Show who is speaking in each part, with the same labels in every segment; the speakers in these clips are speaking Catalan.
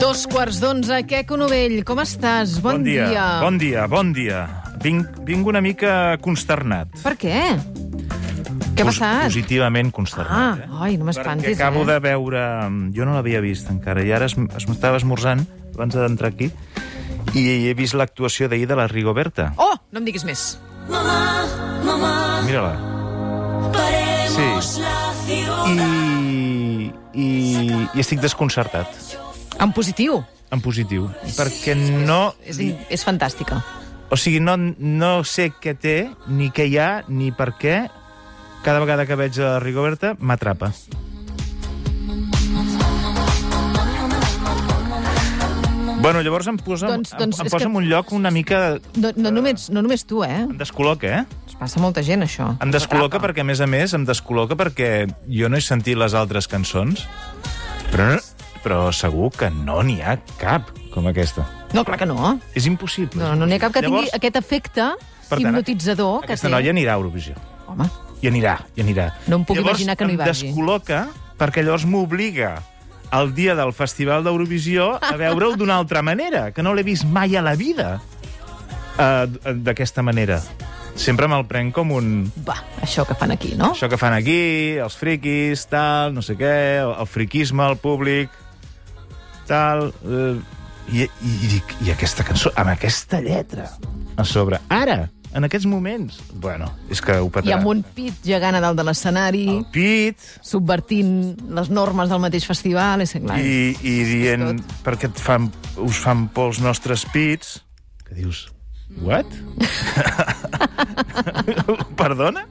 Speaker 1: Dos quarts d'onze, Queco Novell, com estàs? Bon,
Speaker 2: dia.
Speaker 1: dia.
Speaker 2: Bon dia, bon dia. Vinc, vinc una mica consternat.
Speaker 1: Per què? Què ha
Speaker 2: Pos-
Speaker 1: passat?
Speaker 2: Positivament
Speaker 1: Ah,
Speaker 2: consternat. eh?
Speaker 1: ai, no m'espantis,
Speaker 2: Perquè acabo
Speaker 1: eh?
Speaker 2: de veure... mm, Jo no l'havia vist encara, i ara es, es m'estava esmorzant abans d'entrar aquí, i he vist l'actuació d'ahir de la Rigoberta.
Speaker 1: Oh, no em diguis més.
Speaker 3: Mamá, mamá,
Speaker 2: Mira-la.
Speaker 3: paremos
Speaker 2: Sí.
Speaker 3: la ciudad.
Speaker 2: I, i, I estic desconcertat,
Speaker 1: En positiu.
Speaker 2: en positiu, perquè no...
Speaker 1: És, in- és fantàstica.
Speaker 2: O sigui, no, no sé què té, ni què hi ha, ni per què. Cada vegada que veig a la Rigoberta, m'atrapa. Bueno, llavors em posa,
Speaker 1: Doncs- doncs
Speaker 2: em,
Speaker 1: és
Speaker 2: em posa
Speaker 1: que-
Speaker 2: en un lloc una mica...
Speaker 1: No, no, només, no només tu, eh?
Speaker 2: Em descol·loca, eh?
Speaker 1: Es passa a molta gent, això.
Speaker 2: Em descol·loca
Speaker 1: Ah.
Speaker 2: perquè, a més a més, em descol·loca perquè jo no he sentit les altres cançons, però, però segur que no n'hi ha cap com aquesta.
Speaker 1: No, clar que no.
Speaker 2: És impossible.
Speaker 1: No, no n'hi ha cap que tingui
Speaker 2: Llavors,
Speaker 1: aquest efecte
Speaker 2: Per tant,
Speaker 1: hipnotitzador que
Speaker 2: Aquesta
Speaker 1: té.
Speaker 2: noia anirà a Eurovisió.
Speaker 1: Home,
Speaker 2: i anirà, i anirà.
Speaker 1: No em puc
Speaker 2: llavors,
Speaker 1: imaginar que no hi vagi.
Speaker 2: Em descol·loca perquè llavors m'obliga el dia del Festival d'Eurovisió a veure-ho d'una altra manera, que no l'he vist mai a la vida uh, d'aquesta manera. Sempre me'l prenc com un...
Speaker 1: va, això que fan aquí, no?
Speaker 2: Això que fan aquí, els friquis, tal, no sé què, el, el friquisme, el públic, tal... Uh, i, i, i, dic, I aquesta cançó, amb aquesta lletra, a sobre, ara, en aquests moments... Bueno, és que ho
Speaker 1: I
Speaker 2: petarà.
Speaker 1: amb un pit gegant a dalt de l'escenari,
Speaker 2: El pit,
Speaker 1: subvertint les normes del mateix festival, és clar.
Speaker 2: I, i dient,
Speaker 1: tot.
Speaker 2: per què et fan, us fan por els nostres pits? Que dius, what? Perdona?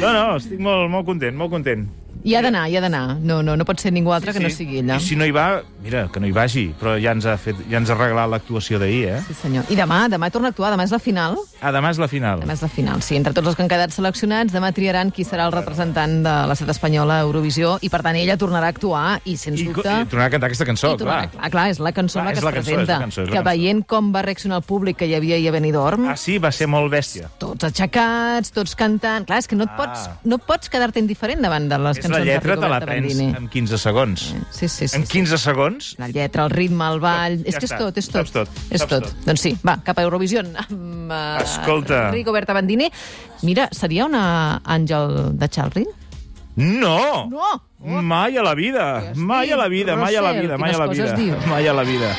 Speaker 2: No, no, estic molt, molt content, molt content.
Speaker 1: I ha d'anar, hi ha d'anar. No, no, no pot ser ningú altre que no sigui ella.
Speaker 2: I si no hi va, mira, que no hi vagi, però ja ens ha, fet, ja ens ha arreglat l'actuació d'ahir, eh?
Speaker 1: Sí, senyor. I demà, demà torna a actuar, demà és la final.
Speaker 2: Ah, demà és la final.
Speaker 1: Demà és la final, sí. Entre tots els que han quedat seleccionats, demà triaran qui serà el representant de l'estat espanyol a Eurovisió i, per tant, ella tornarà a actuar i, sens
Speaker 2: I, co-
Speaker 1: dubte...
Speaker 2: I tornarà a cantar aquesta cançó,
Speaker 1: i tornarà-
Speaker 2: clar.
Speaker 1: clar, clar, és la cançó
Speaker 2: Clar,
Speaker 1: en la que
Speaker 2: és
Speaker 1: es
Speaker 2: la cançó, és la
Speaker 1: presenta,
Speaker 2: cançó, és la
Speaker 1: que
Speaker 2: cançó.
Speaker 1: veient com va reaccionar el públic que hi havia ahir a Benidorm,
Speaker 2: Ah, sí, va ser molt bèstia.
Speaker 1: tots aixecats, tots cantant... Clar, és que no et
Speaker 2: Ah.
Speaker 1: pots, no pots quedar-te indiferent davant de les
Speaker 2: És
Speaker 1: cançons
Speaker 2: la lletra,
Speaker 1: de
Speaker 2: te la
Speaker 1: Rigoberta
Speaker 2: prens
Speaker 1: Bandini.
Speaker 2: en 15 segons.
Speaker 1: Sí, sí, sí.
Speaker 2: En
Speaker 1: sí.
Speaker 2: 15 segons
Speaker 1: La lletra, el ritme, el ball...
Speaker 2: Ja
Speaker 1: és que és
Speaker 2: està,
Speaker 1: tot, és tot.
Speaker 2: saps tot,
Speaker 1: És
Speaker 2: saps
Speaker 1: tot.
Speaker 2: tot.
Speaker 1: Doncs sí, va, cap a Eurovisió. Amb, eh,
Speaker 2: Escolta.
Speaker 1: Rigoberta Bandini. Mira, seria una àngel de Charlie?
Speaker 2: No!
Speaker 1: No!
Speaker 2: Mai a la vida,
Speaker 1: Hosti,
Speaker 2: mai a la vida, mai a la vida,
Speaker 1: Russell,
Speaker 2: mai a la
Speaker 1: quines
Speaker 2: vida,
Speaker 1: coses diu.
Speaker 2: mai a la vida.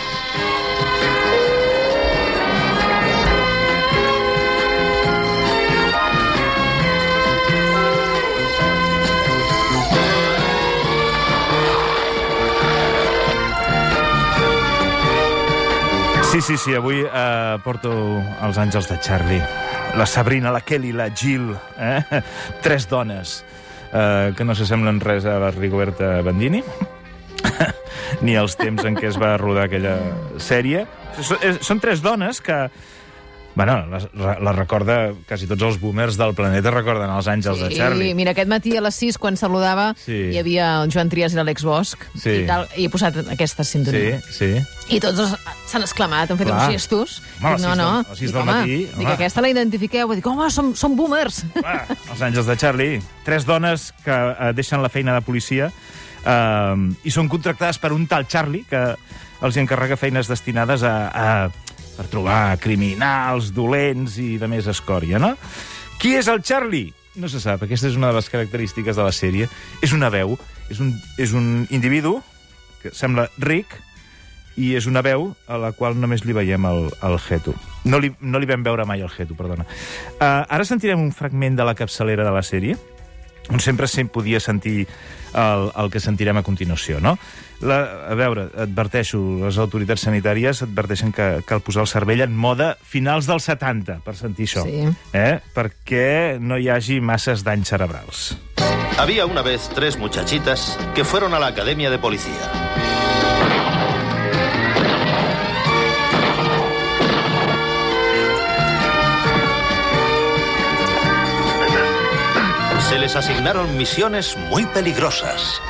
Speaker 2: Sí, sí, sí, avui eh, porto els àngels de Charlie. La Sabrina, la Kelly, la Jill, eh? tres dones eh, que no s'assemblen res a la Rigoberta Bandini, ni als temps en què es va rodar aquella sèrie. Són, eh, són tres dones que... Bueno, les, les recorda... Quasi tots els boomers del planeta recorden els àngels de Charlie.
Speaker 1: I mira, aquest matí a les 6, quan saludava,
Speaker 2: Sí.
Speaker 1: hi havia el Joan Trias i l'Àlex Bosch,
Speaker 2: Sí.
Speaker 1: i, tal, i he posat aquesta
Speaker 2: Sí,
Speaker 1: sintonia.
Speaker 2: sí.
Speaker 1: I tots dos s'han exclamat, han fet
Speaker 2: Clar.
Speaker 1: uns gestos.
Speaker 2: Home, a les
Speaker 1: Dic, no,
Speaker 2: sis del-
Speaker 1: no.
Speaker 2: a les sis
Speaker 1: Dic,
Speaker 2: del
Speaker 1: home,
Speaker 2: matí,
Speaker 1: Dic,
Speaker 2: home.
Speaker 1: aquesta la identifiqueu. Dic, home, som, som boomers.
Speaker 2: Va, els àngels de Charlie. Tres dones que eh, deixen la feina de policia eh, i són contractades per un tal Charlie que els hi encarrega feines destinades a, a, per trobar criminals, dolents i de més escòria, no? Qui és el Charlie? No se sap, aquesta és una de les característiques de la sèrie. És una veu, és un, és un individu que sembla ric i és una veu a la qual només li veiem el, el Geto. No li, no li vam veure mai el Geto, perdona. Uh, ara sentirem un fragment de la capçalera de la sèrie, on sempre se'n podia sentir el, el que sentirem a continuació, no? La, a veure, adverteixo, les autoritats sanitàries adverteixen que cal posar el cervell en moda finals dels 70 per sentir això,
Speaker 1: Sí.
Speaker 2: eh? perquè no hi hagi masses danys cerebrals.
Speaker 4: Había una vez tres muchachitas que fueron a la academia de policía. Se les asignaron misiones muy peligrosas.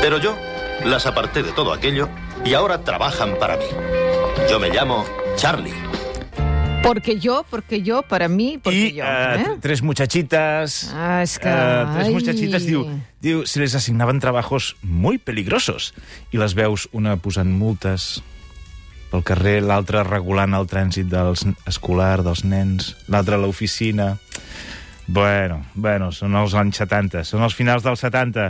Speaker 4: Pero yo las aparté de todo aquello y ahora trabajan para mí. Yo me llamo Charlie.
Speaker 1: Porque jo, porque jo, per a mi, porque
Speaker 2: I
Speaker 1: jo.
Speaker 2: eh,
Speaker 1: Eh?
Speaker 2: tres muchachitas...
Speaker 1: Ah, és que-
Speaker 2: eh, tres
Speaker 1: ai.
Speaker 2: muchachitas, diu, diu, se les asignaven trabajos muy peligrosos. I les veus una posant multes pel carrer, l'altra regulant el trànsit dels escolar, dels nens, l'altra a l'oficina... Bueno, bueno, són els anys 70, són els finals dels 70.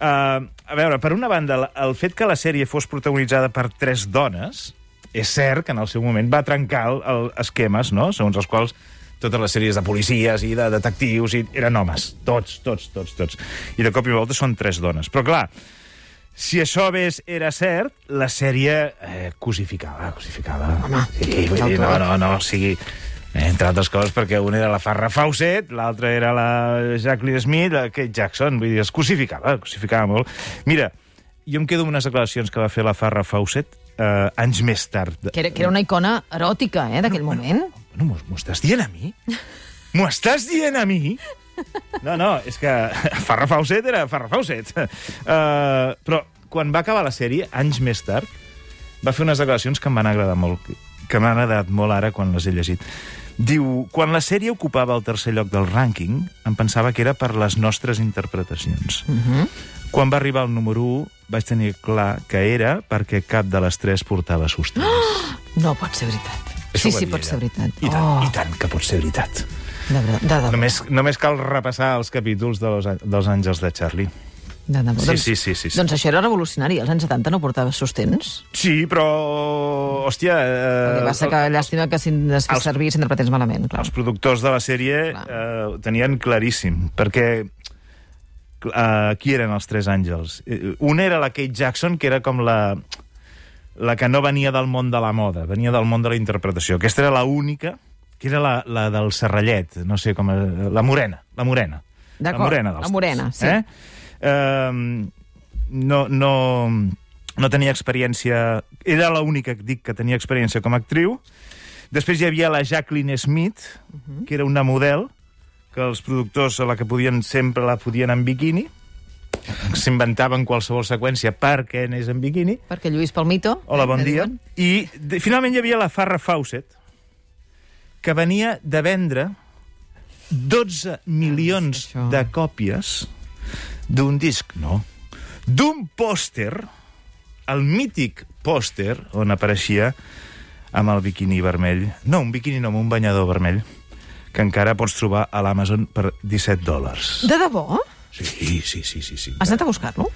Speaker 2: Uh, a veure, per una banda, la- el fet que la sèrie fos protagonitzada per tres dones és cert que en el seu moment va trencar el, el esquemes, no?, segons els quals totes les sèries de policies i de detectius i eren homes, tots, tots, tots, tots. I de cop i volta són tres dones. Però clar, si això ves era cert, la sèrie eh, cosificava, cosificava. Home, sí, vull dir, no, no, no, o sigui, entre altres coses, perquè una era la Farrah Fawcett, l'altra era la Jacqueline Smith, la Kate Jackson, vull dir, es cosificava, cosificava molt. Mira, jo em quedo amb unes declaracions que va fer la Farrah Fawcett eh, anys més tard.
Speaker 1: Que, era, que era una icona eròtica, eh, d'aquell moment.
Speaker 2: Bueno, m'ho- m'ho estàs dient a mi? M'ho estàs dient a mi? No, no, és que Farrah Fawcett era Farrah Fawcett. Uh, però quan va acabar la sèrie, anys més tard, va fer unes declaracions que em van agradar molt, que m'han agradat molt ara quan les he llegit. Diu, quan la sèrie ocupava el tercer lloc del rànquing, em pensava que era per les nostres interpretacions. Quan va arribar al número 1, vaig tenir clar que era perquè cap de les tres portava sostres.
Speaker 1: No pot ser veritat.
Speaker 2: Això
Speaker 1: sí,
Speaker 2: ho va
Speaker 1: sí,
Speaker 2: dir
Speaker 1: pot
Speaker 2: ella.
Speaker 1: ser veritat.
Speaker 2: I tant,
Speaker 1: oh,
Speaker 2: i tant que pot ser veritat.
Speaker 1: De, de, de, de,
Speaker 2: Només, només cal repassar els capítols de los, dels Àngels de Charlie.
Speaker 1: de, de,
Speaker 2: Sí, sí, sí, sí, sí.
Speaker 1: Doncs això era revolucionari. Als anys 70 no portava sostens.
Speaker 2: Sí, però... Hòstia...
Speaker 1: El
Speaker 2: Eh,
Speaker 1: que passa que llàstima que si es fes
Speaker 2: els-
Speaker 1: servir s'interpretés malament, clar.
Speaker 2: els productors de la sèrie eh,
Speaker 1: Clar.
Speaker 2: ho tenien claríssim, perquè eh, qui eren els tres àngels? Eh, Una era la Kate Jackson, que era com la la que no venia del món de la moda, venia del món de la interpretació. Aquesta era la única, que era la, la del Serrallet, no sé com... eh, La morena, la morena. La
Speaker 1: D'acord,
Speaker 2: morena, dels
Speaker 1: la morena,
Speaker 2: tres,
Speaker 1: sí.
Speaker 2: Eh? Um, no, no, no tenia experiència... Era l'única, dic, que tenia experiència com a actriu. Després hi havia la Jacqueline Smith,
Speaker 1: Mhm.
Speaker 2: que era una model, que els productors a la que podien sempre la podien en biquini, s'inventaven qualsevol seqüència perquè anés en biquini.
Speaker 1: Perquè Lluís Palmito... eh,
Speaker 2: Hola, bon
Speaker 1: que
Speaker 2: dia.
Speaker 1: diuen,
Speaker 2: I de, finalment hi havia la Farrah Fawcett, que venia de vendre 12 milions
Speaker 1: que això-
Speaker 2: de còpies d'un disc, no, d'un pòster, el mític pòster on apareixia amb el biquini vermell. No, un biquini no, amb un banyador vermell, que encara pots trobar a l'Amazon per 17 dòlars.
Speaker 1: De debò?
Speaker 2: Sí, sí, sí, sí. sí.
Speaker 1: Has anat a buscar-lo?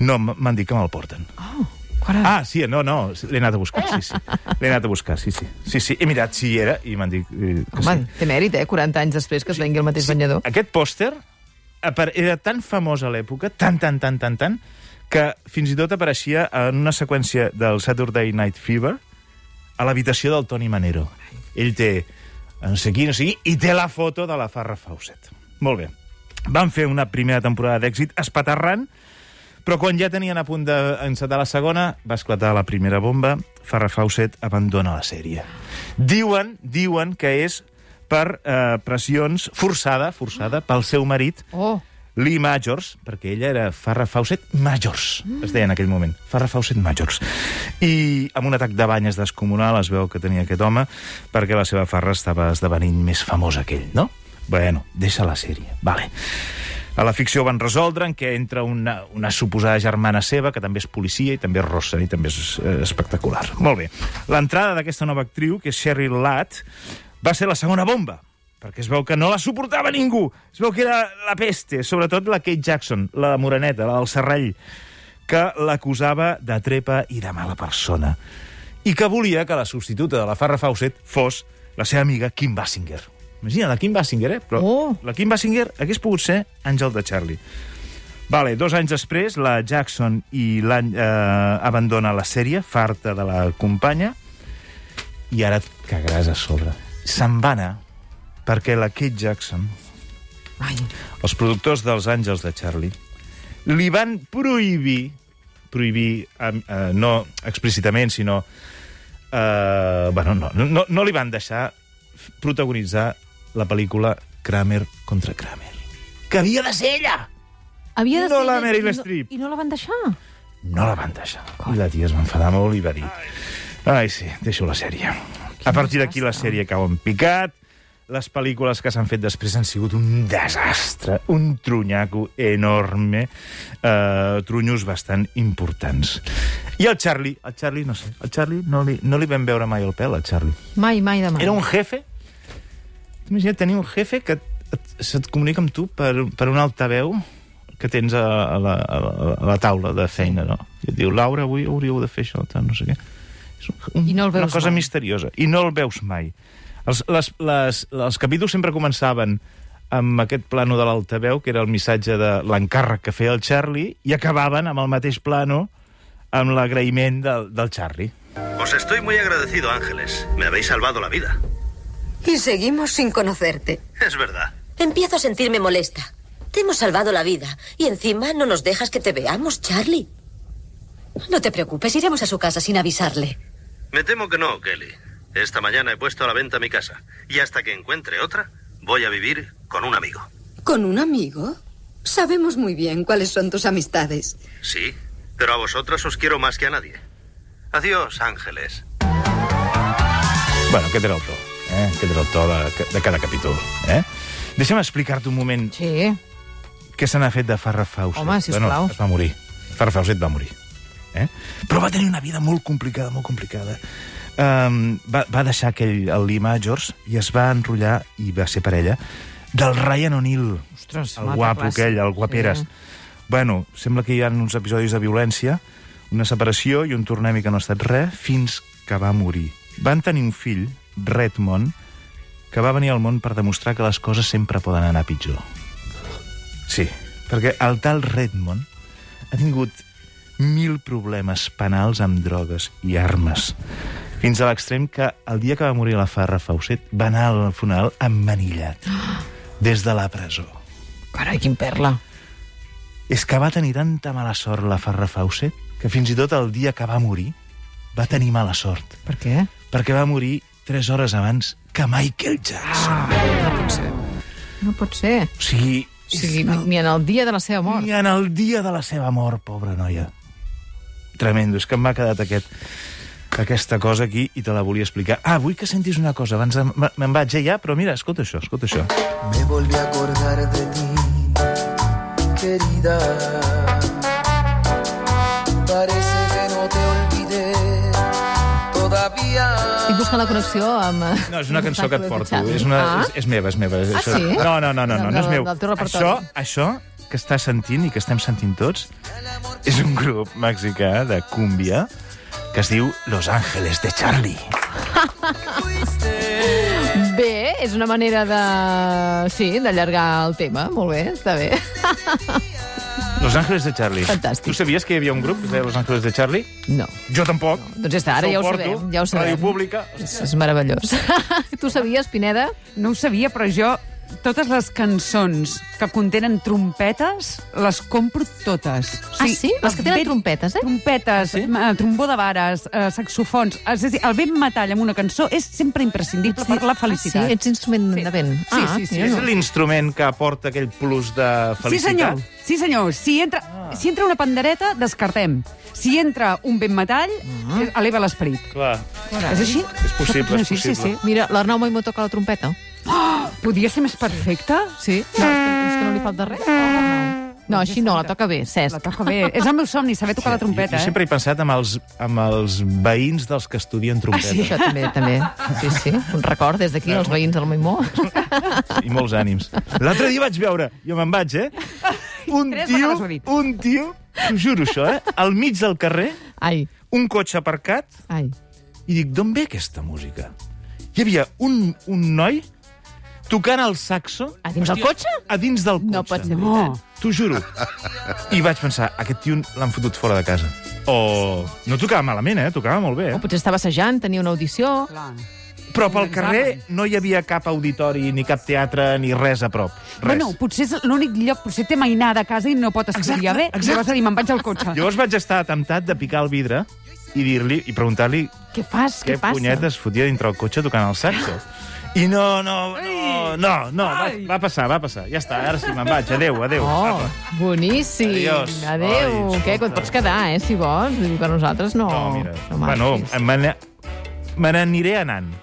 Speaker 2: No, m- m'han dit que me'l porten.
Speaker 1: Oh, carai.
Speaker 2: Ah, sí, no, no, l'he anat a buscar, sí, sí. L'he anat a buscar, sí, sí. Sí, sí, he mirat si hi era i m'han dit eh, que
Speaker 1: Home,
Speaker 2: sí.
Speaker 1: té mèrit, eh? 40 anys després que es vengui el mateix banyador.
Speaker 2: Aquest pòster apar- era tan famós a l'època, tan, tan, tan, tan, tan, que fins i tot apareixia en una seqüència del Saturday Night Fever a l'habitació del Tony Manero. Ell té no sé qui, no sé qui, i té la foto de la Farrah Fawcett. Molt bé. Van fer una primera temporada d'èxit espaterrant, però quan ja tenien a punt d'encetar la segona, va esclatar la primera bomba, Farrah Fawcett abandona la sèrie. Diuen, diuen que és per eh, pressions forçada, forçada pel seu marit,
Speaker 1: Oh,
Speaker 2: Lee Majors, perquè ella era Farrah Fawcett Majors, es deia en aquell moment, Farrah Fawcett Majors. I amb un atac de banyes descomunal es veu que tenia aquest home perquè la seva Farrah estava esdevenint més famosa que ell, no? Bueno, deixa la sèrie, vale. A la ficció van resoldre en què entra una, una suposada germana seva, que també és policia i també és rossa i també és eh, espectacular. Molt bé. L'entrada d'aquesta nova actriu, que és Cheryl Latt, va ser la segona bomba, perquè es veu que no la suportava ningú. Es veu que era la peste, sobretot la Kate Jackson, la moreneta, la del Serrall, que l'acusava de trepa i de mala persona i que volia que la substituta de la Farrah Fawcett fos la seva amiga Kim Basinger. Imagina, la Kim Basinger, eh? Però
Speaker 1: Oh.
Speaker 2: la Kim Basinger hagués pogut ser Àngel de Charlie. Vale, dos anys després, la Jackson i l'any eh, abandona la sèrie, farta de la companya, i ara et cagaràs a sobre. Se'n va anar perquè la Kate Jackson
Speaker 1: Ai,
Speaker 2: els productors dels Àngels de Charlie, li van prohibir, prohibir eh, eh, no explícitament, sinó... Eh, bueno, no, no, no li van deixar f- protagonitzar la pel·lícula Kramer contra Kramer. Que havia de ser ella!
Speaker 1: havia de
Speaker 2: No
Speaker 1: ser-
Speaker 2: la Meryl
Speaker 1: i no-
Speaker 2: Streep.
Speaker 1: I no la van deixar.
Speaker 2: No la van deixar. I la tia es va enfadar molt i va dir... Ai, sí, deixo la sèrie. A partir d'aquí la sèrie cau en picat, les pel·lícules que s'han fet després han sigut un desastre, un trunyaco enorme, eh, trunyos bastant importants. I el Charlie, el Charlie, no sé, el Charlie no li, no li vam veure mai el pèl, al Charlie.
Speaker 1: Mai, mai demà.
Speaker 2: Era un jefe. Imagina't tenir un jefe que et- se't comunica amb tu per, per un altaveu que tens a, a, la, a, la, a la taula de feina, no? I et diu, Laura, avui hauríeu de fer això, tal, no sé què. És un, un,
Speaker 1: I no el
Speaker 2: una
Speaker 1: veus
Speaker 2: cosa
Speaker 1: mai.
Speaker 2: misteriosa. I no el veus mai. Els, les, les, els capítols sempre començaven amb aquest plano de l'altaveu, que era el missatge de l'encàrrec que feia el Charlie, i acabaven amb el mateix plano amb l'agraïment del, del Charlie.
Speaker 4: Os estoy muy agradecido, Ángeles. Me habéis salvado la vida.
Speaker 5: Y seguimos sin conocerte.
Speaker 4: Es verdad.
Speaker 6: Empiezo a sentirme molesta. Te hemos salvado la vida y encima no nos dejas que te veamos, Charlie. No te preocupes, iremos a su casa sin avisarle.
Speaker 4: Me temo que no, Kelly. Esta mañana he puesto a la venta mi casa. Y hasta que encuentre otra, voy a vivir con un amigo.
Speaker 5: ¿Con un amigo? Sabemos muy bien cuáles son tus amistades.
Speaker 4: Sí, pero a vosotras os quiero más que a nadie. Adiós, Ángeles.
Speaker 2: Bueno, aquest era el to, eh? Aquest era el to de, de cada capítol, eh? Deixa'm explicar-te un moment
Speaker 1: Sí,
Speaker 2: què se n'ha fet de Farrah Fawcett.
Speaker 1: Home, sisplau.
Speaker 2: Bueno, es va morir. Farrah Fawcett va morir. Eh? Però va tenir una vida molt complicada, molt complicada. Um, va, va deixar aquell el Lee Majors i es va enrotllar, i va ser parella, del Ryan O'Neill.
Speaker 1: Ostres,
Speaker 2: el
Speaker 1: mata
Speaker 2: guapo
Speaker 1: classe.
Speaker 2: aquell, el guaperes.
Speaker 1: Sí.
Speaker 2: Bueno, sembla que hi ha uns episodis de violència, una separació i un tornem que no ha estat res, fins que va morir. Van tenir un fill, Redmond, que va venir al món per demostrar que les coses sempre poden anar pitjor. Sí, perquè el tal Redmond ha tingut mil problemes penals amb drogues i armes. Fins a l'extrem que el dia que va morir la Farra Fawcett va anar al funeral emmanillat, des de la presó.
Speaker 1: carai, quin perla.
Speaker 2: És que va tenir tanta mala sort la Farra Fawcett que fins i tot el dia que va morir va tenir mala sort,
Speaker 1: Per què?
Speaker 2: perquè va morir 3 hores abans que Michael Jackson.
Speaker 1: No pot ser.
Speaker 2: O sigui,
Speaker 1: O sigui, ni, ni en el dia de la seva mort.
Speaker 2: Ni en el dia de la seva mort, pobra noia. Tremendo, és que m'ha quedat aquest, aquesta cosa aquí i te la volia explicar. Ah, vull que sentis una cosa, abans de- me- me'n vaig eh, ja, però mira, escolta això, escolta això.
Speaker 7: Me volví a acordar de ti, querida. Parece que no te olvidé todavía.
Speaker 1: Estic buscant la connexió amb... eh,
Speaker 2: No, és una cançó que et
Speaker 1: Tacles de
Speaker 2: porto,
Speaker 1: Charlie.
Speaker 2: és, una,
Speaker 1: Ah,
Speaker 2: és, és meva, és meva.
Speaker 1: Ah,
Speaker 2: Això-
Speaker 1: sí?
Speaker 2: No, no, no, no, no, no és
Speaker 1: Del-
Speaker 2: meu.
Speaker 1: del teu
Speaker 2: Això,
Speaker 1: repertori.
Speaker 2: això que estàs sentint i que estem sentint tots és un grup mexicà de cúmbia que es diu Los Ángeles de Charlie.
Speaker 1: Bé, és una manera de... Sí, d'allargar el tema. Molt bé, està bé.
Speaker 2: Los Ángeles de Charlie.
Speaker 1: Fantàstic.
Speaker 2: Tu sabies que hi havia un grup que es deia Los Ángeles de Charlie?
Speaker 1: No.
Speaker 2: Jo tampoc.
Speaker 1: Doncs ja està, ara
Speaker 2: Això
Speaker 1: ja ho
Speaker 2: porto,
Speaker 1: sabem, ja ho sabem.
Speaker 2: Ràdio Pública.
Speaker 1: És, és meravellós. tu sabies, Pineda?
Speaker 8: No ho sabia, però jo totes les cançons que contenen trompetes les compro totes. O
Speaker 1: Ah, sí? Les que tenen
Speaker 8: ben-
Speaker 1: trompetes, eh?
Speaker 8: Trompetes, sí? trombó de vares, eh, saxofons... És a dir, el vent metall amb una cançó és sempre imprescindible per la felicitat.
Speaker 1: Ah, sí, ets instrument
Speaker 8: Sí.
Speaker 1: de vent.
Speaker 8: Sí,
Speaker 1: ah,
Speaker 8: sí, sí.
Speaker 1: mira,
Speaker 2: És
Speaker 1: no.
Speaker 2: l'instrument que aporta aquell plus de
Speaker 8: Sí,
Speaker 2: felicitat. Ah.
Speaker 8: senyor. Sí, senyor. Si entra, si entra una pandereta, descartem. Si entra un vent metall, eleva l'esperit.
Speaker 2: Clar.
Speaker 8: És així?
Speaker 2: Mm-hmm. És possible, és
Speaker 8: Sí, sí,
Speaker 2: possible.
Speaker 8: sí.
Speaker 1: Mira, l'Arnau Moimó toca la trompeta.
Speaker 8: Podia ser més perfecte?
Speaker 1: Sí? No, és que, és que no li falta res. Oh, Arnau. no, així no, la toca bé,
Speaker 8: La
Speaker 1: Cesc.
Speaker 8: toca bé. És el meu somni, saber tocar la
Speaker 2: jo,
Speaker 8: trompeta,
Speaker 2: jo
Speaker 8: eh?
Speaker 2: sempre he pensat amb els, amb els veïns dels que estudien trompeta.
Speaker 1: Això també, també. Sí, sí. Un record des d'aquí, als veïns del Moimó.
Speaker 2: I molts ànims. L'altre dia vaig veure, jo me'n vaig, eh? Un
Speaker 8: Tres
Speaker 2: tio,
Speaker 8: vegades ho he dit.
Speaker 2: un tio, t'ho juro això, eh? Al mig del carrer,
Speaker 1: Ai,
Speaker 2: un cotxe aparcat,
Speaker 1: ai.
Speaker 2: i dic, d'on ve aquesta música? Hi havia un, un noi tocant el saxo...
Speaker 1: A dins del cotxe?
Speaker 2: A dins del cotxe.
Speaker 1: No pot ser
Speaker 8: Oh.
Speaker 1: veritat.
Speaker 2: T'ho juro. I vaig pensar, aquest tio l'han fotut fora de casa. O... No tocava malament, eh? Tocava molt bé,
Speaker 1: O
Speaker 2: eh?
Speaker 1: potser estava assajant, tenia una audició.
Speaker 8: Clar.
Speaker 2: Però pel
Speaker 8: Ens
Speaker 2: carrer no hi havia cap auditori, ni cap teatre, ni res a prop. Res.
Speaker 8: Bueno, potser és l'únic lloc, potser té mainada a casa i no pot estudiar
Speaker 2: Exacte,
Speaker 8: bé.
Speaker 2: exacte.
Speaker 8: Llavors ha dit, me'n vaig al cotxe.
Speaker 2: Llavors vaig estar temptat de picar el vidre i dir-li i preguntar-li
Speaker 8: Què fas?
Speaker 2: què
Speaker 8: Què, passa?
Speaker 2: punyetes fotia dintre el cotxe tocant el saxo. I no, no, no, no, no va,
Speaker 8: Ai!
Speaker 2: va passar, va passar. Ja està, ara sí, me'n vaig. Adéu, adéu.
Speaker 1: Oh,
Speaker 2: Apa.
Speaker 1: boníssim.
Speaker 2: Adiós.
Speaker 1: Adéu.
Speaker 2: Ai,
Speaker 1: Què, que et
Speaker 2: escolta.
Speaker 1: pots quedar, eh,
Speaker 8: Oh,
Speaker 1: si vols. Vull dir, Per nosalles no.
Speaker 2: No, mira.
Speaker 1: No
Speaker 2: bueno,
Speaker 1: marxis.
Speaker 2: me n'aniré anant.